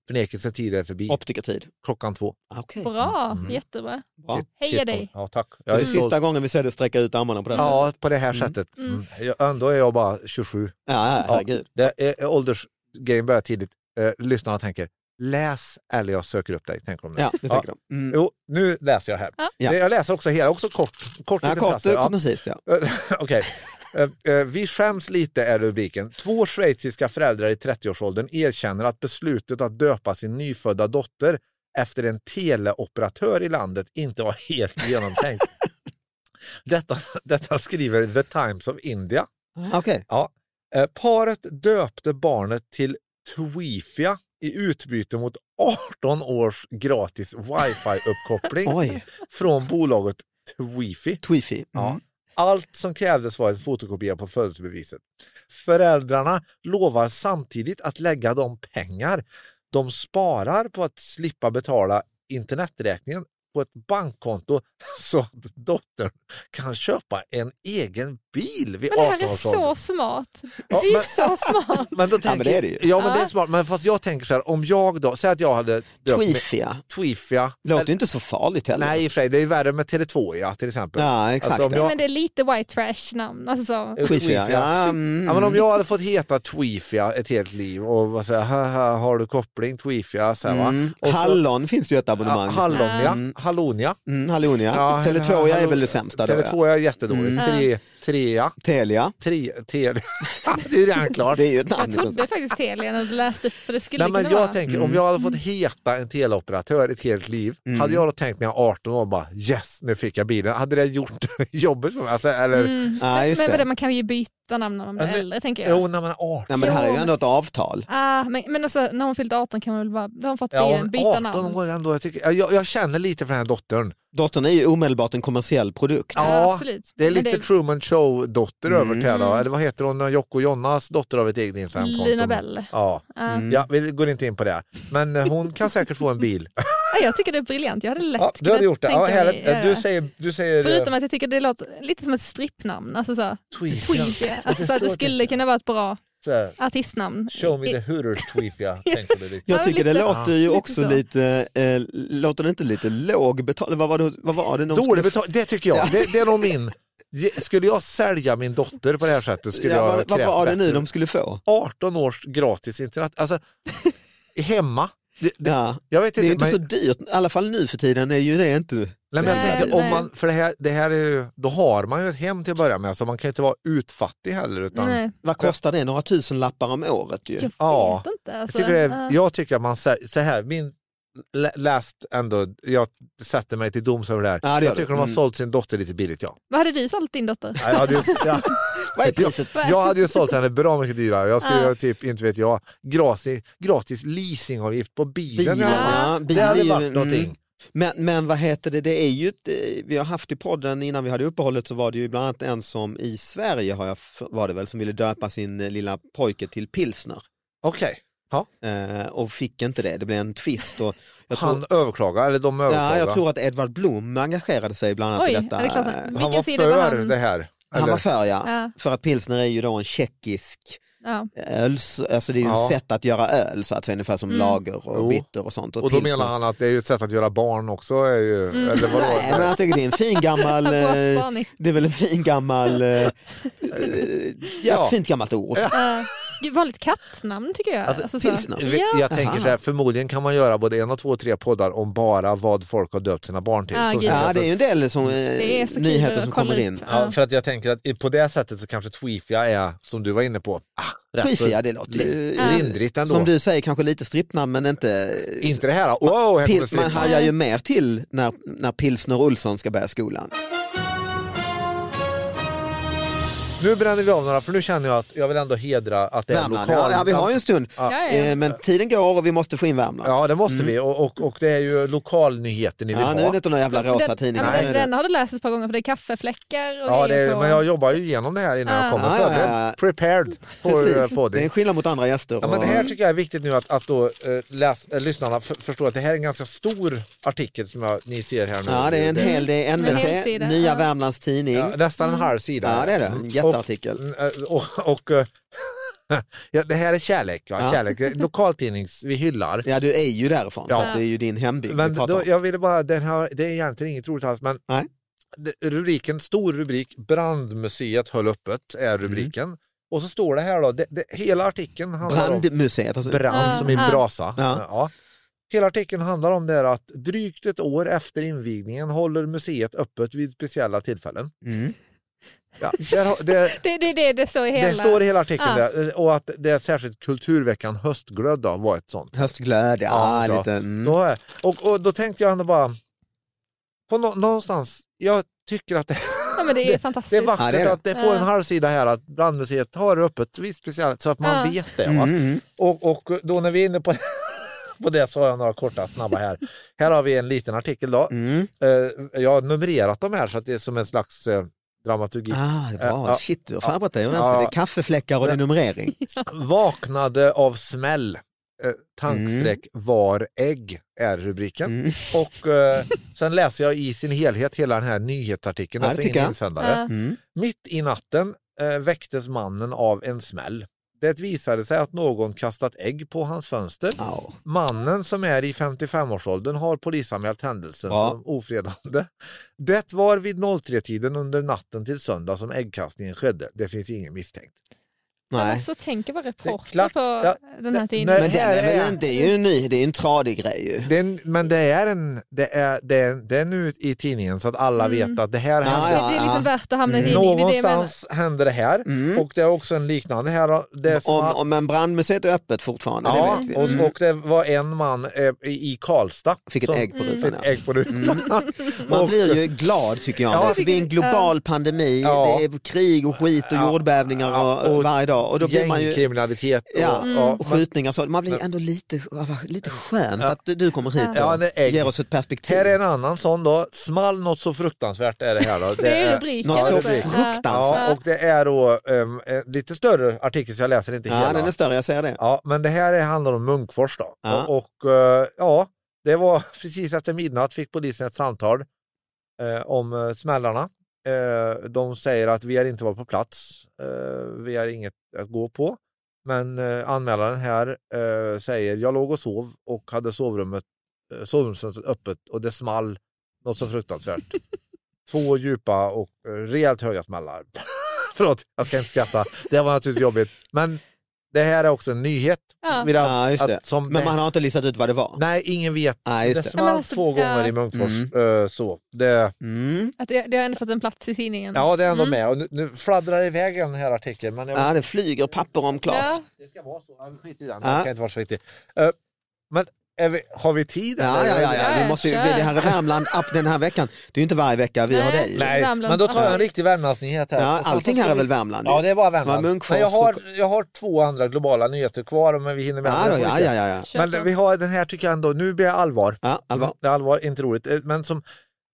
Speaker 3: förnekelsen tid är förbi
Speaker 1: Optikertid.
Speaker 3: klockan två.
Speaker 1: Ah, Okej.
Speaker 4: Bra,
Speaker 3: Mm.
Speaker 4: jättebra.
Speaker 1: Bra.
Speaker 4: Heja
Speaker 3: Shit.
Speaker 4: dig.
Speaker 3: Ja, tack.
Speaker 1: Det
Speaker 3: Jag är
Speaker 1: är
Speaker 3: stolt.
Speaker 1: sista gången vi ser dig sträcka ut armarna på det här sättet.
Speaker 3: Ja, på det här
Speaker 1: Mm.
Speaker 3: sättet.
Speaker 4: Mm.
Speaker 3: Mm. Jag, ändå är jag bara 27.
Speaker 1: Ja, ja, herregud.
Speaker 3: Det är, åldersgrejen börjar tidigt. Eh, lyssnarna tänker läs eller jag söker upp dig. Tänker de nu.
Speaker 1: Ja, det tänker de. Mm.
Speaker 3: Jo, nu läser jag här.
Speaker 4: Ja.
Speaker 1: Ja.
Speaker 3: Det- Jag läser också hela, också kort. kort
Speaker 1: Ja,
Speaker 3: liten
Speaker 1: kort,
Speaker 3: frasser. Ja.
Speaker 1: precis ja.
Speaker 3: Okej. Eh, eh, Vi skäms lite är rubriken. Två schweiziska föräldrar i 30-årsåldern erkänner att beslutet att döpa sin nyfödda dotter efter en teleoperatör i landet inte var helt genomtänkt. detta, detta skriver The Times of India.
Speaker 1: Ah, Okej.
Speaker 3: Eh, Paret döpte barnet till Twifia i utbyte mot 18 års gratis wifi-uppkoppling
Speaker 1: Oj,
Speaker 3: från bolaget Twifi.
Speaker 1: Twifi.
Speaker 3: Ja. Allt som krävdes var en fotokopia på födelsebeviset. Föräldrarna lovar samtidigt att lägga de pengar de sparar på att slippa betala interneträkningen på ett bankkonto så att dottern kan köpa en egen bil vid
Speaker 4: Men det här
Speaker 3: 18
Speaker 4: är
Speaker 3: års
Speaker 4: så
Speaker 3: ålder.
Speaker 4: smart.
Speaker 3: Ja,
Speaker 4: Det är
Speaker 3: men-
Speaker 4: så smart.
Speaker 3: Men då
Speaker 1: Ja, men det är det ju.
Speaker 3: Ja, men
Speaker 4: Ja.
Speaker 3: det är smart. Men fast jag tänker så här, om jag då, säg att jag hade döpt mig-
Speaker 1: Tweefia.
Speaker 3: Tweef, ja.
Speaker 1: Låter ju inte så farligt heller.
Speaker 3: Nej, i och för sig, det är ju värre med Tele2 ja, till exempel.
Speaker 1: Ja, exakt.
Speaker 3: Alltså, om
Speaker 4: Nej,
Speaker 3: jag-
Speaker 4: men det är lite white trash namn. Alltså,
Speaker 1: Tweefia.
Speaker 3: Tweefia.
Speaker 1: Ja, mm.
Speaker 3: Ja, men om jag hade fått heta Tweefia ett helt liv och var så här, haha, har du koppling Tweefia? Så här, va?
Speaker 1: Mm.
Speaker 3: Och så,
Speaker 1: Hallon finns det ju ett
Speaker 3: ja,
Speaker 1: abonnemang.
Speaker 3: hallon, ja. Hallon, ja.
Speaker 1: Mm, hallon ja.
Speaker 3: Ja,
Speaker 1: Tele2 ja, är
Speaker 3: hallon-
Speaker 1: väl det sämsta då. ja.
Speaker 3: Tele2 är jättedåligt.
Speaker 4: Mm.
Speaker 3: Tre, trea,
Speaker 1: Telia.
Speaker 3: tre, tele. det är ju redan klart.
Speaker 1: Det är ju ett namn. liksom.
Speaker 4: jag trodde faktiskt Telia när du läste upp för det skulle
Speaker 3: Nej, men
Speaker 4: kunna
Speaker 1: Mm.
Speaker 3: jag
Speaker 4: vara.
Speaker 3: tänker, om jag hade fått heta en teleoperatör ett helt liv,
Speaker 1: Mm.
Speaker 3: hade jag då tänkt när jag var 18 år bara yes, nu fick jag bilen. Hade det gjort jobbet för mig? Alltså, eller,
Speaker 4: Mm.
Speaker 1: Ja, just
Speaker 4: men
Speaker 1: det.
Speaker 4: vadå, man kan ju byta namn när man blir
Speaker 3: Ja, men-
Speaker 4: äldre tänker jag.
Speaker 3: Jo, när man är 18.
Speaker 1: Nej, men det här är ju
Speaker 4: Jo,
Speaker 1: ändå ett avtal.
Speaker 4: Ah, men, men alltså, när hon fyllde 18 kan man väl bara, då har hon fått
Speaker 3: Ja,
Speaker 4: be-
Speaker 3: hon är
Speaker 4: byta
Speaker 3: 18
Speaker 4: namn.
Speaker 3: år ändå. Jag, tycker, jag, jag känner lite för den här dottern.
Speaker 1: Dottern är ju omedelbart en kommersiell produkt.
Speaker 3: Ja,
Speaker 4: absolut.
Speaker 3: Det är
Speaker 4: Men
Speaker 3: lite Truman Show-dotter över till henne. då. Eller vad heter hon? Jocke och Jonas dotter av ett eget Instagramkonto.
Speaker 4: Lina Bell.
Speaker 3: Ja.
Speaker 4: Ah.
Speaker 3: ja, vi går inte in på det. Men eh, hon kan säkert få en bil.
Speaker 4: Ja, Ah, Jag tycker det är briljant, jag hade lätt
Speaker 3: Ja, du hade gjort det. Ja,
Speaker 4: tänka
Speaker 3: härligt.
Speaker 4: mig, ja,
Speaker 3: Du
Speaker 4: ja.
Speaker 3: säger... Du säger eh,
Speaker 4: Förutom att jag tycker det låter lite som ett strippnamn, alltså så här,
Speaker 3: Tweef.
Speaker 4: Tweefia. Alltså, så att det skulle kunna vara ett bra
Speaker 3: att...
Speaker 4: artistnamn.
Speaker 3: typ Show me the hooters tweef, ja. Tänker du lite.
Speaker 1: Jag
Speaker 4: Ja,
Speaker 1: tycker det
Speaker 4: lite-
Speaker 1: låter ju
Speaker 4: lite
Speaker 1: också
Speaker 4: så.
Speaker 1: lite, eh, låter det inte lite låg betal... Vad var det, vad var det någon
Speaker 3: Dålig betalt, det tycker jag. Det, det är nog min... Skulle jag sälja min dotter på det här sättet skulle
Speaker 1: ja,
Speaker 3: jag
Speaker 1: vad, vad
Speaker 3: krävt
Speaker 1: var det nu
Speaker 3: bättre.
Speaker 1: de skulle få?
Speaker 3: 18 års gratis internet. Alltså, hemma. Det, det,
Speaker 1: Ja.
Speaker 3: jag vet
Speaker 1: Det är ju
Speaker 3: inte,
Speaker 1: inte
Speaker 3: men-
Speaker 1: så dyrt, i alla fall nu för tiden är ju det inte.
Speaker 3: Nej, men jag
Speaker 4: Nej,
Speaker 3: tänker, om
Speaker 4: nej.
Speaker 3: man, för det här, det här är ju, då har man ju ett hem till att börja med, så man kan ju inte vara utfattig heller. Utan,
Speaker 4: Nej,
Speaker 1: Vad kostar det? Några tusen lappar om året ju.
Speaker 4: jag vet
Speaker 3: Ja.
Speaker 4: inte.
Speaker 3: jag,
Speaker 4: Alltså,
Speaker 3: tycker det är,
Speaker 4: ah.
Speaker 3: jag tycker att man sä- så här, min lä- läst ändå, jag sätter mig till doms över det här.
Speaker 1: Ja, det gör
Speaker 3: jag tycker
Speaker 1: du.
Speaker 3: de har
Speaker 1: Mm.
Speaker 3: sålt sin dotter lite billigt, ja.
Speaker 4: Vad hade du sålt din dotter?
Speaker 3: Jag hade ju, jag,
Speaker 1: Vad är priset?
Speaker 3: jag hade ju sålt henne bra mycket dyrare. Jag skulle
Speaker 4: Ja.
Speaker 3: göra typ, inte vet jag, gratis, gratis leasingavgift på bilen.
Speaker 1: Bilen,
Speaker 3: eller
Speaker 1: ja.
Speaker 3: något. Det
Speaker 1: Bilen är
Speaker 3: hade
Speaker 1: ju-
Speaker 3: varit någonting.
Speaker 1: mm. Men, men vad heter det, det är ju, ett, eh, vi har haft i podden innan vi hade uppehållet så var det ju bland annat en som i Sverige har jag, f- var det väl, som ville döpa sin eh, lilla pojke till pilsner.
Speaker 3: Okej,
Speaker 1: Eh, och fick inte det, det blev en tvist. Och jag tror-
Speaker 3: han överklagar, eller de överklagar.
Speaker 1: Ja, jag tror att Edvard Blom engagerade sig bland annat
Speaker 4: Oj,
Speaker 1: i
Speaker 4: ja,
Speaker 1: detta.
Speaker 4: det är klart. han-
Speaker 3: han
Speaker 4: Vilken
Speaker 3: var
Speaker 4: sida var
Speaker 3: för
Speaker 4: han?
Speaker 3: det här.
Speaker 1: Han var
Speaker 3: eller?
Speaker 1: för ja.
Speaker 4: Ja,
Speaker 1: För att pilsner är ju då en tjeckisk
Speaker 4: ja.
Speaker 1: öl, alltså det är ju
Speaker 3: Ja.
Speaker 1: ett sätt att göra öl så att säga, ungefär som
Speaker 4: Mm.
Speaker 1: lager och
Speaker 3: Jo.
Speaker 1: bitter och sånt.
Speaker 3: Och då
Speaker 1: pilsner-
Speaker 3: menar han att det är ju ett sätt att göra barn också. Är ju,
Speaker 4: Mm.
Speaker 3: eller vadå?
Speaker 1: Nej, men jag tycker det är en fin gammal,
Speaker 4: Bra
Speaker 1: eh,
Speaker 4: spaning.
Speaker 1: det är väl en fin gammal, eh, eh, ja,
Speaker 3: Ja.
Speaker 1: ett fint gammalt ord.
Speaker 4: Eh, gud, vanligt kattnamn tycker jag.
Speaker 3: Alltså,
Speaker 4: Alltså, så.
Speaker 1: Pilsner.
Speaker 4: Ja.
Speaker 3: Jag tänker så här, förmodligen kan man göra både en och två och tre poddar om bara vad folk har döpt sina barn till.
Speaker 4: Ja,
Speaker 3: Så
Speaker 4: gud.
Speaker 3: ska jag
Speaker 1: Ja,
Speaker 3: säga.
Speaker 1: det är ju en del som, eh,
Speaker 4: Det är så kul
Speaker 1: nyheter
Speaker 4: att
Speaker 1: som
Speaker 4: kolla
Speaker 1: kommer
Speaker 4: upp.
Speaker 1: in.
Speaker 3: Ja, för att jag tänker att i- på det sättet så kanske Tweefia är, som du var inne på, ah, rätt så
Speaker 1: Skifia, det låter ju,
Speaker 3: li- lindrigt ändå.
Speaker 1: som du säger, kanske lite strippnamn men inte...
Speaker 3: Inte det här, wow, här
Speaker 1: Pil,
Speaker 3: kommer
Speaker 1: man
Speaker 3: man
Speaker 1: hajar ju mer till när, när Pilsner Olsson ska börja skolan.
Speaker 3: Nu bränner vi av några, för nu känner jag att jag vill ändå hedra att det är
Speaker 1: Värmland,
Speaker 3: lokal...
Speaker 1: ja, ja, vi har ju en stund.
Speaker 4: Ja, ja.
Speaker 1: Eh, Men tiden går och vi måste få in Värmland.
Speaker 3: Ja, det måste vi. Och, och, och det är ju lokalnyheter ni vill
Speaker 1: Mm. Ja, nu är
Speaker 3: ha.
Speaker 1: det inte någon jävla rosa
Speaker 4: Den-
Speaker 1: tidning.
Speaker 4: ja, men
Speaker 1: Nu
Speaker 4: den,
Speaker 1: är
Speaker 4: den
Speaker 1: det-
Speaker 4: har du läst ett par gånger för det är kaffefläckar och
Speaker 3: Ja, det
Speaker 4: grejer
Speaker 3: är,
Speaker 4: på.
Speaker 3: men jag jobbar ju igenom det här innan
Speaker 4: Ah.
Speaker 3: jag kommer
Speaker 1: Ja, ja,
Speaker 3: förberedd.
Speaker 1: ja.
Speaker 3: Prepared for eh,
Speaker 1: Precis,
Speaker 3: podding.
Speaker 1: det är en skillnad mot andra gäster.
Speaker 3: Ja, men det här
Speaker 1: och-
Speaker 3: tycker jag är viktigt nu att, att då, eh, läs, eh, lyssnarna f- förstår att det här är en ganska stor artikel som jag, ni ser här nu.
Speaker 1: ja, det är en hel, det är
Speaker 4: En hel
Speaker 1: NBT,
Speaker 4: sida,
Speaker 1: Nya
Speaker 4: ja.
Speaker 1: Värmlands Tidning.
Speaker 3: Ja, nästan en halv sida.
Speaker 1: Ja, det är det. En
Speaker 3: Mm.
Speaker 1: jätteartikel.
Speaker 3: Och, och, och, eh, ja, det här är kärlek. Va?
Speaker 1: Ja.
Speaker 3: kärlek. Eh, Lokaltidnings, vi hyllar.
Speaker 1: Ja, du är ju därifrån,
Speaker 3: Ja.
Speaker 1: så att det är ju din hembygd
Speaker 3: Men
Speaker 1: vi pratar
Speaker 3: då,
Speaker 1: om.
Speaker 3: jag ville bara, den här, det är egentligen inget roligt alls, men
Speaker 1: Nej.
Speaker 3: det- rubriken, stor rubrik, Brandmuseet höll öppet är
Speaker 1: Mm.
Speaker 3: rubriken. Och så står det här då, det, det, hela artikeln handlar om...
Speaker 1: Brandmuseet. Alltså.
Speaker 3: brand
Speaker 4: Ja,
Speaker 3: som i
Speaker 4: ja.
Speaker 3: brasa.
Speaker 1: Ja.
Speaker 3: Ja. Hela artikeln handlar om det här att drygt ett år efter invigningen håller museet öppet vid speciella tillfällen.
Speaker 1: Mm.
Speaker 3: Ja, där, har- det,
Speaker 4: det, det, det, det står i hela.
Speaker 3: det står i hela artikeln
Speaker 4: Ja.
Speaker 3: där, och att det är särskilt Kulturveckan Höstglöd då, var ett sånt.
Speaker 1: Höstglöd, ja.
Speaker 3: Ja,
Speaker 1: lite, mm.
Speaker 3: Då har jag- och, och då tänkte jag ändå bara, på nå, någonstans, jag tycker att det,
Speaker 4: ja, men det är fantastiskt.
Speaker 3: det är vackert
Speaker 1: Ja, det är det.
Speaker 3: att det får en
Speaker 4: Ja.
Speaker 3: halvsida här att brandmuseet har öppet vid speciellt så att man
Speaker 4: Ja.
Speaker 3: vet det. Va?
Speaker 1: Mm, mm.
Speaker 3: Och, och då när vi är inne på, på det så har jag några korta snabba här. Här har vi en liten artikel då.
Speaker 1: Mm.
Speaker 3: Eh, Jag har numrerat dem här så att det är som en slags eh, dramaturgi.
Speaker 1: Ah, det är bra.
Speaker 3: Ja.
Speaker 1: Shit, du har förberett dig ordentligt.
Speaker 3: Ja.
Speaker 1: Det är kaffefläckar och det är numrering.
Speaker 3: Vaknade av smäll. eh, tankstreck
Speaker 1: Mm.
Speaker 3: var ägg är rubriken. Och eh, sen läser jag i sin helhet hela den här nyhetsartikeln,
Speaker 1: Ja, det
Speaker 3: alltså
Speaker 1: tycker
Speaker 3: in
Speaker 1: jag.
Speaker 3: insändare.
Speaker 4: Ja.
Speaker 1: Mm.
Speaker 3: Mitt i natten eh, väcktes mannen av en smäll. Det visade sig att någon kastat ägg på hans fönster.
Speaker 1: Ja.
Speaker 3: Mannen som är i 55-årsåldern har polisanmält händelsen
Speaker 1: Ja.
Speaker 3: som ofredande. Det var vid 03-tiden under natten till söndag som äggkastningen skedde. Det finns ingen misstänkt.
Speaker 4: Men
Speaker 1: Nej.
Speaker 4: Alltså, tänk att vara reporter
Speaker 3: klart.
Speaker 4: på
Speaker 3: Ja.
Speaker 4: den här tiden.
Speaker 3: nej.
Speaker 1: Men det är, väl en- det är ju en ny, det är en tradig grej ju.
Speaker 3: Det är en, men det är, en, det, är, det, är, det är nu i tidningen så att alla vet att det här
Speaker 1: Ja,
Speaker 3: hände.
Speaker 4: Det, det är liksom värt att hamna i tidningen. Mm. Det är det jag menar.
Speaker 3: Ah. Mm. Någonstans hände det här och det är också en liknande här. Det är som
Speaker 1: Mm. Om,
Speaker 3: att-
Speaker 1: om, men brandmuseet är öppet fortfarande,
Speaker 3: Ja,
Speaker 1: det vet vi. Mm.
Speaker 3: och, och det var en man eh, i i Karlstad
Speaker 1: Fick ett
Speaker 3: som
Speaker 1: ägg på
Speaker 4: Mm.
Speaker 1: rutan,
Speaker 3: fick
Speaker 1: ja. Mm.
Speaker 3: ett ägg på rutan.
Speaker 1: Man
Speaker 3: Och-
Speaker 1: blir ju glad tycker jag.
Speaker 3: Ja.
Speaker 1: Alltså, det är en global pandemi,
Speaker 3: Ja.
Speaker 1: det är krig och skit och jordbävningar och,
Speaker 3: och
Speaker 1: varje dag. Och då blir man ju,
Speaker 3: Gängkriminalitet och,
Speaker 1: ja,
Speaker 4: Mm.
Speaker 3: ja,
Speaker 1: och skjutningar och så. Man blir ändå lite, lite skönt att du- du kommer hit och
Speaker 3: Ja, det är-
Speaker 1: ger oss ett perspektiv.
Speaker 3: Här är en annan sån då. Small något så fruktansvärt är det här. Då. Det,
Speaker 4: är rubriken,
Speaker 1: Något så
Speaker 3: det är
Speaker 4: alltså.
Speaker 3: rubriken.
Speaker 1: fruktansvärt.
Speaker 3: Ja, och det är då um, lite större artikel så jag läser inte
Speaker 1: Ja,
Speaker 3: hela.
Speaker 1: den är större, jag ser det.
Speaker 3: Ja, men det här är- handlar om Munkfors då.
Speaker 1: Ja.
Speaker 3: Och, och, eh, ja, det var precis efter midnatt fick polisen ett samtal eh, om eh, smällarna. Eh, de säger att vi har inte varit på plats. Eh, vi har inget att gå på. Men eh, anmälaren här eh, säger jag låg och sov och hade sovrummet, eh, sovrumsfönstret öppet och det small något så fruktansvärt. Två djupa och eh, rejält höga smällar. Förlåt, jag ska inte skratta. Det var naturligtvis jobbigt. Men det här är också en nyhet.
Speaker 4: Ja.
Speaker 3: Vill jag-
Speaker 1: Ja, just det.
Speaker 3: att- som
Speaker 1: Men man har inte listat ut vad det var.
Speaker 3: Nej, ingen vet.
Speaker 1: Nej, just
Speaker 3: det
Speaker 1: det.
Speaker 3: small
Speaker 4: Men alltså,
Speaker 3: två
Speaker 4: ja.
Speaker 3: gånger i Munkfors.
Speaker 1: Mm.
Speaker 3: eh, så. Det,
Speaker 1: Mm.
Speaker 4: Att det, det har ändå fått en plats i tidningen.
Speaker 3: ja, det är ändå
Speaker 4: Mm.
Speaker 3: med. Och nu, nu fladdrar det iväg den här artikeln. Men jag,
Speaker 1: Ja, det flyger papper om Klas.
Speaker 4: Ja.
Speaker 3: Det ska vara så. Ja, men Skit i den.
Speaker 1: Ja.
Speaker 3: Den kan inte vara så viktig. Eh, men är vi, har vi tid?
Speaker 1: Ja, ja,
Speaker 3: eller?
Speaker 1: ja, ja. Vi
Speaker 4: Ja,
Speaker 1: måste ju, det
Speaker 4: kör.
Speaker 1: här är Värmland upp den här veckan. Det är ju inte varje vecka vi har
Speaker 4: Nej.
Speaker 1: dig.
Speaker 3: Nej,
Speaker 4: Värmland.
Speaker 3: men då tar jag en riktig Värmlandsnyhet här.
Speaker 1: Ja,
Speaker 3: Och sen så
Speaker 1: allting
Speaker 3: ska
Speaker 1: här är
Speaker 3: vi-
Speaker 1: väl Värmland?
Speaker 3: Ja, det var
Speaker 1: Var
Speaker 3: Värmland.
Speaker 1: Munkfors
Speaker 3: men jag har,
Speaker 1: och-
Speaker 3: jag har två andra globala nyheter kvar men vi hinner med
Speaker 1: Ja,
Speaker 3: andra,
Speaker 1: då,
Speaker 3: får vi
Speaker 1: ja,
Speaker 3: se.
Speaker 1: ja, ja, ja.
Speaker 4: Kör
Speaker 3: Men
Speaker 4: på.
Speaker 3: vi har den här tycker jag ändå, nu blir jag allvar.
Speaker 1: ja allvar.
Speaker 3: Det är allvar, inte roligt. Eh, Men som,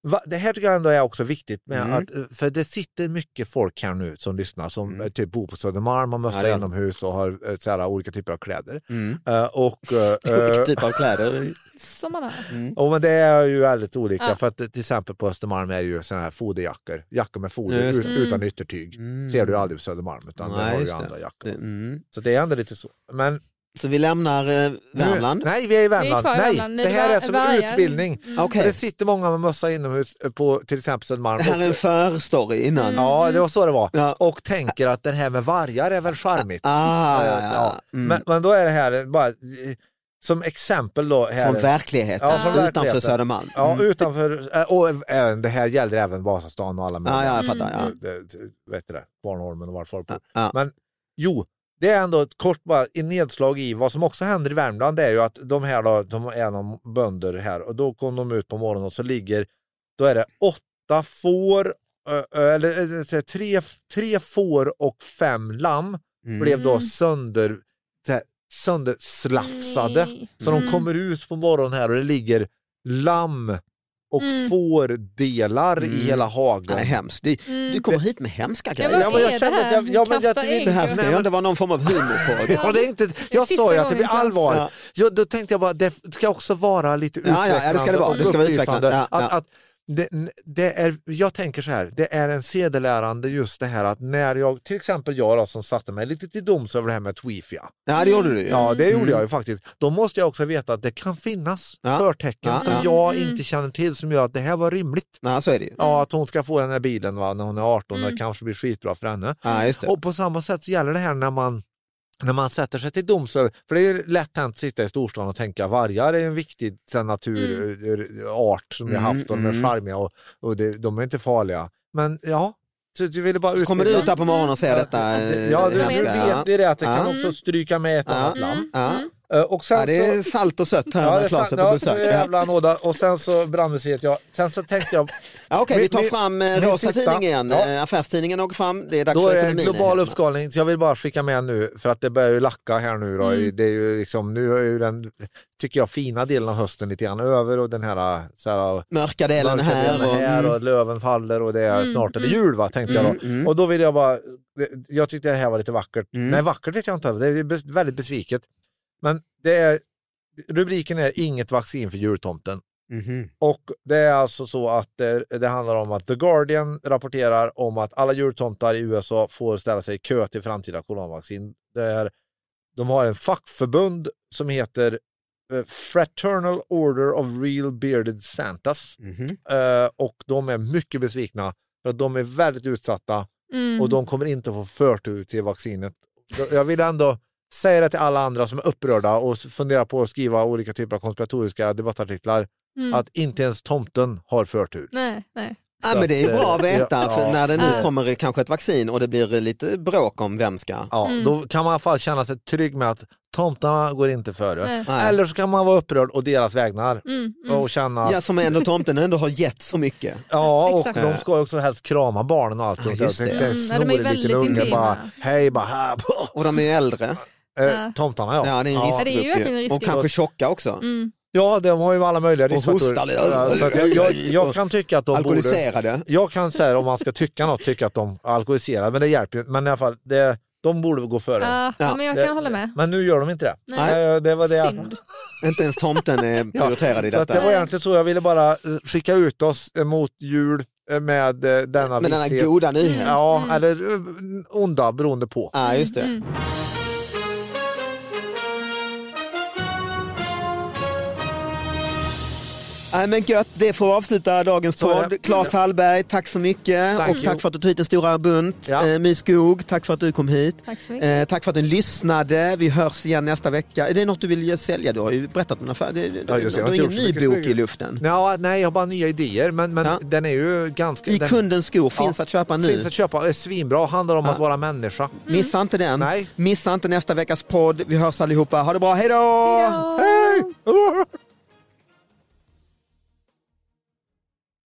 Speaker 3: va, det här tycker jag ändå är också viktigt, med
Speaker 1: Mm.
Speaker 3: att, eh, för det sitter mycket folk här nu som lyssnar som
Speaker 1: Mm.
Speaker 3: eh, typ bor på Södermalm, har
Speaker 1: Ja,
Speaker 3: mössa
Speaker 1: det är-
Speaker 3: inomhus och har eh, så här, olika typer av kläder.
Speaker 1: Mm.
Speaker 3: Eh, och, eh, eh,
Speaker 1: Vilken typ av kläder?
Speaker 4: Som man har.
Speaker 3: och, men det är ju väldigt olika,
Speaker 4: Ja.
Speaker 3: för att eh, till exempel på Östermalm är det ju såna här foderjackor, jackor med
Speaker 1: Ja,
Speaker 3: foder
Speaker 1: just
Speaker 3: ut,
Speaker 4: det.
Speaker 3: utan yttertyg.
Speaker 1: Mm.
Speaker 3: ser du ju aldrig på Södermalm, utan
Speaker 1: Nej,
Speaker 3: där har du ju
Speaker 1: just det.
Speaker 3: andra jackor.
Speaker 1: Mm.
Speaker 3: Så det är ändå lite så. Men
Speaker 1: Så vi lämnar eh,
Speaker 3: nu,
Speaker 1: Värmland.
Speaker 3: Nej, vi är i Värmland.
Speaker 4: kvar i
Speaker 3: nej,
Speaker 4: Värmland. Ni
Speaker 3: det här
Speaker 4: var- Mm.
Speaker 3: är som
Speaker 4: vargar.
Speaker 3: utbildning.
Speaker 1: Okej.
Speaker 3: Det sitter många med mössa inomhus eh, på till exempel Södermalm.
Speaker 1: Det här är en förstory innan.
Speaker 3: Ja, det var så det var.
Speaker 1: Ja.
Speaker 3: Och tänker att det här med vargar är väl charmigt.
Speaker 1: Ah,
Speaker 3: Eh,
Speaker 1: ja, ja.
Speaker 3: ja.
Speaker 1: Mm.
Speaker 3: Men, men då är det här bara eh, som exempel då. Här,
Speaker 1: Från verkligheten,
Speaker 3: Ja, från
Speaker 1: utanför
Speaker 3: verkligheten.
Speaker 1: Södermalm. Mm.
Speaker 3: Ja, utanför, eh, och eh, det här gäller även Vasastan och alla
Speaker 1: Ja, ja,
Speaker 3: möjliga. Eh,
Speaker 1: jag fattar. Ja.
Speaker 3: Det- det- Vet du det? Kvarnholmen och vart folk bor.
Speaker 1: Ja.
Speaker 3: Men jo, det är ändå ett kort bara, ett nedslag i vad som också händer i Värmland. Det är ju att de här då, de är någon bönder här och då kom de ut på morgonen och så ligger, då är det åtta får, eh, eh, eller eh, så här, tre, tre får och fem lamm
Speaker 1: Mm.
Speaker 3: blev då
Speaker 4: Mm.
Speaker 3: sönder, så här, sönderslafsade.
Speaker 4: Nej.
Speaker 3: Så de
Speaker 4: Mm.
Speaker 3: kommer ut på morgonen här och det ligger lamm och
Speaker 4: Mm.
Speaker 3: fårdelar i
Speaker 1: Mm.
Speaker 3: hela hagen.
Speaker 1: Nej, hemskt. Du,
Speaker 4: Mm.
Speaker 1: du kommer hit med hemska
Speaker 4: Ja,
Speaker 1: grejer.
Speaker 4: vad
Speaker 3: Ja, men jag
Speaker 4: är det
Speaker 3: kände att jag-
Speaker 4: här?
Speaker 3: ja, men jag-
Speaker 4: Kasta
Speaker 3: det-
Speaker 1: Det här
Speaker 4: ägg.
Speaker 1: ska ju inte vara någon form av humor på.
Speaker 3: Ja, det är inte, jag
Speaker 4: sista
Speaker 3: sa ju att det blir
Speaker 4: gången, Claes.
Speaker 3: allvar.
Speaker 1: Ja.
Speaker 3: Jag, då tänkte jag bara, det ska också vara lite
Speaker 1: Ja, ja,
Speaker 3: utvecklande
Speaker 1: ja, det ska det vara.
Speaker 3: och
Speaker 1: Det ska vara
Speaker 3: upplysande.
Speaker 1: utvecklande. Ja,
Speaker 3: Att,
Speaker 1: ja.
Speaker 3: att det, det är, jag tänker så här, det är en sedelärande just det här att när jag, till exempel jag då, som satte mig lite till doms över det här med Twifia.
Speaker 1: Ja, det gjorde du ju.
Speaker 3: Ja, det gjorde jag ju faktiskt. Då måste jag också veta att det kan finnas
Speaker 1: Mm. Ja.
Speaker 3: förtecken
Speaker 1: Ja,
Speaker 3: som
Speaker 1: ja.
Speaker 3: jag inte känner till som gör att det här var rimligt.
Speaker 1: Ja, så är det ju.
Speaker 3: Ja, att hon ska få den här bilen va, när hon är 18. Det kanske blir skitbra för henne.
Speaker 1: Ja, just det.
Speaker 3: Och på samma sätt så gäller det här när man, när man sätter sig till doms över, för det är ju lätt hänt att sitta i storstan och tänka vargar är en viktig så här, naturart som vi har haft och de är
Speaker 1: Mm,
Speaker 3: charmiga och, och det, de är inte farliga. Men ja, så du ville bara
Speaker 1: Så kommer du ut här på morgonen och säger detta eh,
Speaker 3: Ja, du, du
Speaker 1: hemska.
Speaker 3: vet det är det att det
Speaker 1: Ja.
Speaker 3: kan också stryka med ett
Speaker 1: Ja.
Speaker 3: annat lamm.
Speaker 1: Ja.
Speaker 3: Eh, Och sen
Speaker 1: Ja, det är
Speaker 3: så-
Speaker 1: salt och sött här
Speaker 3: Ja,
Speaker 1: när
Speaker 3: det
Speaker 1: Claes är
Speaker 3: sant.
Speaker 1: på
Speaker 3: Ja, det
Speaker 1: besök.
Speaker 3: är
Speaker 1: Ja.
Speaker 3: jävla nåda. Och sen så brandmuseet, ja. Sen så tänkte jag,
Speaker 1: Ja, Okej, vi tar
Speaker 3: Min-
Speaker 1: fram eh,
Speaker 3: min
Speaker 1: Rosa
Speaker 3: sista.
Speaker 1: tidning igen.
Speaker 3: Ja.
Speaker 1: Eh, Affärstidningen åker fram, det är dags
Speaker 3: då
Speaker 1: för
Speaker 3: är det en
Speaker 1: ekonomin.
Speaker 3: global
Speaker 1: i-
Speaker 3: uppskalning. Så jag vill bara skicka med nu, för att det börjar ju lacka här nu. Då. Det är ju liksom, nu är ju den, tycker jag, fina delen av hösten lite grann över och den här, så här
Speaker 1: Mörka delen
Speaker 3: mörka
Speaker 1: här.
Speaker 3: delen
Speaker 1: Och, Mm.
Speaker 3: här och löven faller och det är snart är det jul va, tänkte jag då. Och då
Speaker 1: Mm.
Speaker 3: Mm. vill jag bara, jag tyckte det här var lite vackert. Nej, vackert vet jag inte, det är bes- väldigt besviket. Men det är, rubriken är Inget vaccin för jultomten.
Speaker 1: Mhm.
Speaker 3: Och det är alltså så att det, det handlar om att The Guardian rapporterar om att alla jultomtar i USA får ställa sig i kö till framtida coronavaccin. Det är, de har en fackförbund som heter eh, Fraternal Order of Real Bearded Santas
Speaker 1: Mhm.
Speaker 3: Eh, och de är mycket besvikna för att de är väldigt utsatta
Speaker 4: Mm.
Speaker 3: och de kommer inte få förtur till vaccinet. Jag vill ändå säga det till alla andra som är upprörda och funderar på att skriva olika typer av konspiratoriska debattartiklar
Speaker 4: Mm.
Speaker 3: att inte ens tomten har förtur.
Speaker 4: Nej, nej.
Speaker 1: Ja, men det är bra att veta
Speaker 3: eh, Ja,
Speaker 1: för
Speaker 3: ja.
Speaker 1: när det nu
Speaker 4: Ja.
Speaker 1: kommer kanske ett vaccin och det blir lite bråk om vem ska.
Speaker 3: Ja,
Speaker 4: Mm.
Speaker 3: Då kan man i alla fall känna sig trygg med att tomtarna går inte före.
Speaker 4: nej.
Speaker 1: Nej.
Speaker 3: Eller så kan man vara upprörd och deras vägnar
Speaker 4: Mm, mm.
Speaker 3: och känna att
Speaker 1: Ja, som ändå tomten ändå har gett så mycket.
Speaker 3: Ja, och
Speaker 4: Exakt.
Speaker 3: de ska ju också helst krama barnen och allt sånt.
Speaker 1: Ja, just
Speaker 3: Jag
Speaker 1: det.
Speaker 3: tänkte,
Speaker 4: Mm,
Speaker 3: snor
Speaker 4: de är
Speaker 3: i vilken
Speaker 4: väldigt
Speaker 3: unge,
Speaker 4: intima.
Speaker 3: Bara, hej, bara här.
Speaker 1: Och de är ju äldre.
Speaker 3: Eh,
Speaker 4: Ja.
Speaker 3: tomtarna ja.
Speaker 1: Ja, det är en
Speaker 3: ja.
Speaker 4: det är ju
Speaker 1: riskgrupp
Speaker 4: verkligen en
Speaker 1: ju. Och
Speaker 4: riskgrupp.
Speaker 1: kanske tjocka också.
Speaker 4: Mm.
Speaker 3: ja, de har ju alla möjliga riskfaktorer.
Speaker 1: hostar lite.
Speaker 3: Ja, så att jag, jag, jag kan tycka att de borde...
Speaker 1: Alkoholiserade.
Speaker 3: Jag kan säga om man ska tycka något, tycka att de är alkoholiserade, men det hjälper ju inte. Men i alla fall, det, de borde väl gå före.
Speaker 4: Ja,
Speaker 1: Ja.
Speaker 4: men jag
Speaker 3: Det-
Speaker 4: kan hålla med.
Speaker 3: Men nu gör de inte det.
Speaker 4: Nej.
Speaker 3: Eh, Det var det. jag-
Speaker 4: Synd.
Speaker 1: Inte ens tomten är prioriterad i
Speaker 3: Så att det
Speaker 1: detta.
Speaker 3: var egentligen så jag ville bara eh, skicka ut oss eh, mot jul eh, med eh, denna
Speaker 1: Men den här
Speaker 3: visshet.
Speaker 1: goda nyheten.
Speaker 3: Ja, eller eh, onda beroende på.
Speaker 1: Ja, just det.
Speaker 4: Mm.
Speaker 1: Nej, men gött, det får avsluta dagens
Speaker 3: Så är det.
Speaker 1: podd. Claes Hallberg, tack så mycket.
Speaker 3: Tack.
Speaker 1: och tack för att du tog hit en stora bunt.
Speaker 3: Ja.
Speaker 1: Eh, My Skog, tack för att du kom hit.
Speaker 4: Tack så mycket.
Speaker 1: Eh, tack för att du lyssnade. Vi hörs igen nästa vecka. Är det något du vill ju sälja? Du har ju berättat om en affär. Det, det,
Speaker 3: Ja, just det.
Speaker 1: du
Speaker 3: Jag
Speaker 1: har
Speaker 3: har
Speaker 1: ingen
Speaker 3: inte
Speaker 1: ny
Speaker 3: gjort så
Speaker 1: bok
Speaker 3: mycket
Speaker 1: i luften.
Speaker 3: Ja, nej, jag har bara nya idéer, men, men
Speaker 1: Ja.
Speaker 3: den är ju ganska...
Speaker 1: I
Speaker 3: den
Speaker 1: kundens skor finns
Speaker 3: Ja.
Speaker 1: att köpa nu.
Speaker 3: finns att köpa, är svinbra, handlar om att vara människa.
Speaker 1: Missa inte den.
Speaker 3: Nej.
Speaker 1: Missa inte nästa veckas podd. Vi hörs allihopa. Ha det bra. Hej då!
Speaker 4: Ja.
Speaker 3: Hej!